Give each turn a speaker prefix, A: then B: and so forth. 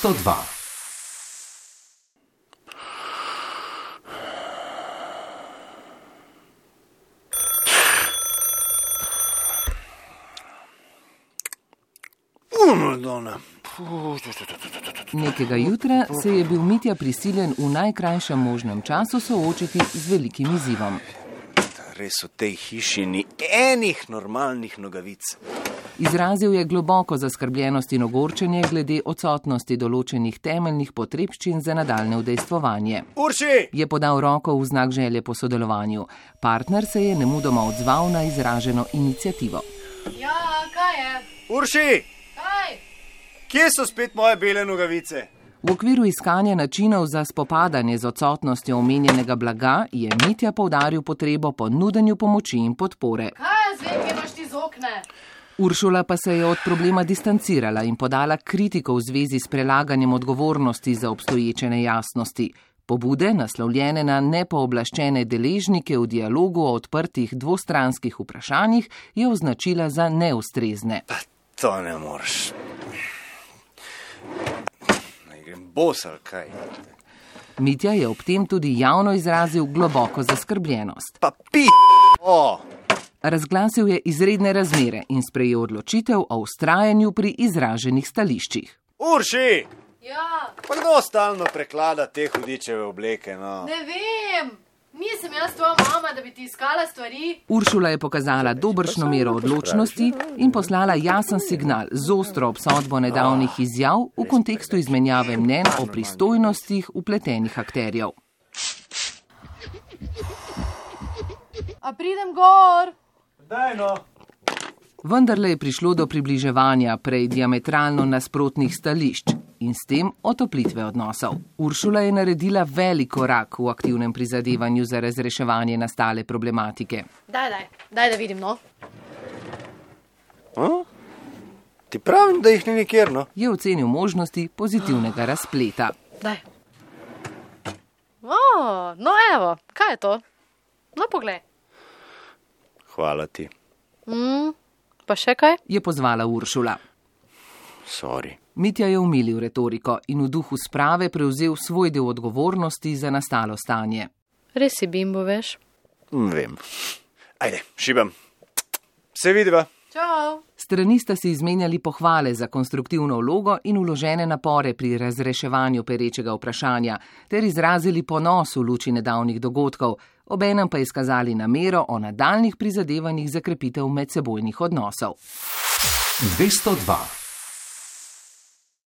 A: 202.
B: Oh, Umodona.
C: Nekega jutra se je bil Mitja prisiljen v najkrajšem možnem času soočiti z velikim izzivom.
B: Res v tej hiši ni enih normalnih nogavic.
C: Izrazil je globoko zaskrbljenost in ogorčenje glede odsotnosti določenih temeljnih potrebščin za nadaljne udejstvovanje.
B: Urši!
C: Je podal roko v znak želje po sodelovanju. Partner se je nemudoma odzval na izraženo inicijativo.
D: Ja, kaj je?
B: Urši!
D: Kaj?
B: Kje so spet moje bele nogavice?
C: V okviru iskanja načinov za spopadanje z odsotnostjo omenjenega blaga je Mitja povdaril potrebo po nudenju pomoči in podpore.
D: Kaj jaz vem, kje imaš ti z okne?
C: Uršula pa se je od problema distancirala in podala kritiko v zvezi s prelaganjem odgovornosti za obstoječe nejasnosti. Pobude, naslovljene na nepooblaščene deležnike v dialogu o odprtih dvostranskih vprašanjih, je označila za neustrezne.
B: Pa to ne moreš. Naj grem bos ali kaj.
C: Mitja je ob tem tudi javno izrazil globoko zaskrbljenost.
B: Pa pi! O!
C: Razglasil je izredne razmere in sprejel odločitev o ustrajanju pri izraženih stališčih.
B: Urši!
D: Ja,
B: Pa kdo stalno preklada te hudičeve obleke, no?
D: ne vem. Nisem jaz tvoja mama, da bi ti iskala stvari.
C: Uršula je pokazala dobršno mero odločnosti in poslala jasen signal z ostro obsodbo nedavnih izjav v kontekstu izmenjave mnen o pristojnostih upletenih akterjev.
D: A pridem gor.
B: Daj no!
C: Vendarle je prišlo do približevanja prej diametralno nasprotnih stališč in s tem otoplitve odnosov. Uršula je naredila velik korak v aktivnem prizadevanju za razreševanje nastale problematike.
D: Daj, daj, daj da vidim, no.
B: A? Ti pravim, da jih ni nikjer, no?
C: Je ocenil možnosti pozitivnega razpleta.
D: Daj. O, no evo, kaj je to? No, poglej.
B: Hvala ti.
D: Mm, pa še kaj?
C: Je pozvala Uršula.
B: Sorry.
C: Mitja je umilil retoriko in v duhu sprave prevzel svoj del odgovornosti za nastalo stanje.
D: Res si bimbo, veš.
B: Vem. Ajde, šibam. Se vidiva.
D: Čau.
C: Strani sta si izmenjali pohvale za konstruktivno vlogo in vložene napore pri razreševanju perečega vprašanja, ter izrazili ponos v luči nedavnih dogodkov, obenem pa izkazali namero o nadaljnih prizadevanjih za krepitev medsebojnih odnosov.
A: 202.